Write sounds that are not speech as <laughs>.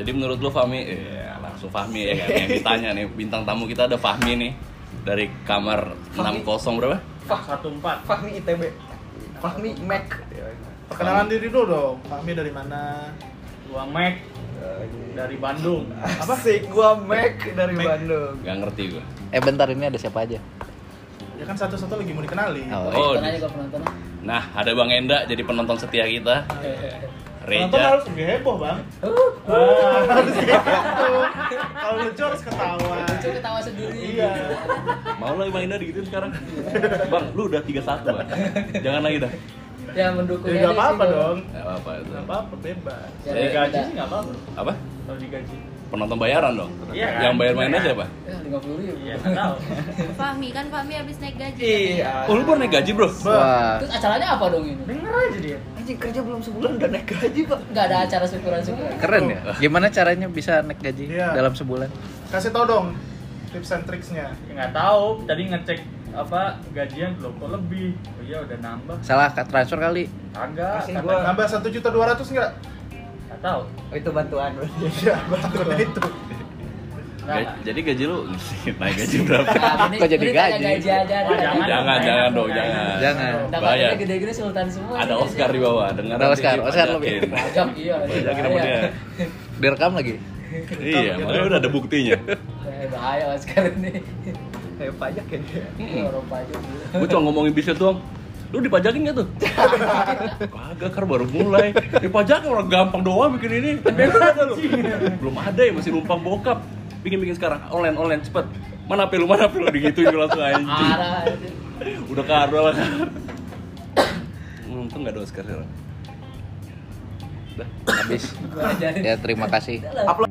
Jadi menurut lu Fahmi, ya, langsung Fahmi ya kan yang ditanya nih bintang tamu kita ada Fahmi nih dari kamar Fahmi. 60 berapa? Fah- satu empat Fahmi ITB. Fahmi Mac. iya. Perkenalan diri dulu dong. Fahmi dari mana? gua Mac dari Bandung Apa sih? Gua Mac dari Mac. Bandung. Gak ngerti gue. Eh bentar ini ada siapa aja? Ya kan satu-satu lagi mau dikenali. Oh, Oh, penonton di- Eh, aja gua penonton nah ada Bang Enda jadi penonton setia kita. Penonton harus Reja. lebih heboh bang. Oh. Ah, harus gitu. Kalau lucu harus ketawa. lucu ketawa sendiri Iya. Mau lagi Bang Enda digituin sekarang. Bang, lu udah 31 bang. Jangan lagi dah. ya mendukung Jadi Iya, nggak apa-apa dong. Gak apa-apa itu. Nggak apa-apa bebas. Ya, dari gaji kita- sih nggak apa-apa Apa? kalau digaji Penonton bayaran dong. Iya kan? Yang bayar mainnya siapa? ya lima puluh ribu iya nggak tahu Fahmi kan Fahmi habis naik gaji. Iya. Oh lu baru naik gaji bro? Wah. terus acaranya apa dong ini denger aja dia Anjing kerja belum sebulan udah naik gaji, Pak. nggak ada acara syukuran syukuran Keren ya. Gimana caranya bisa naik gaji Iya. dalam sebulan? Kasih tau dong tips and tricksnya. Ya, nggak tahu tadi ngecek apa gajian belum kok lebih oh iya udah nambah Salah ka- transfer kali. agak Kasih kata gua. Nambah satu juta dua ratus nggak? nggak tahu Oh, itu bantuan Nah, berarti. Iya, bantuan itu. Ga- Jadi gaji lu <laughs> naik gaji berapa? Kok jadi gaji? gaji aja Wah, Oh, Jangan, jangan, jangan dong, dong, jangan. Jangan. Bahaya. dapatnya gede-gede sultan semua Ada sih, Oscar gaji. di bawah, dengar Ada Oscar, Oscar lebih. pajak iya Pajakin sama <laughs> dia. Direkam lagi. Iya, makanya udah ada buktinya. Eh, bahaya Oscar ini Kayak pajak ya dia. Ini orang pajak dulu. Gue cuma ngomongin bisnis doang. Lu dipajakin gak tuh? Kagak, kar baru mulai. Dipajakin orang gampang doang bikin ini. Beda lu. Belum ada ya masih numpang bokap. Bikin-bikin sekarang online online cepet. Mana HP lu, mana HP lu digituin gua langsung anjing. arah Udah karo lah <coughs> kar. Untung gak ada Oscar sekarang. Dah, Habis. Gua ajarin. Ya terima kasih. Udah lah.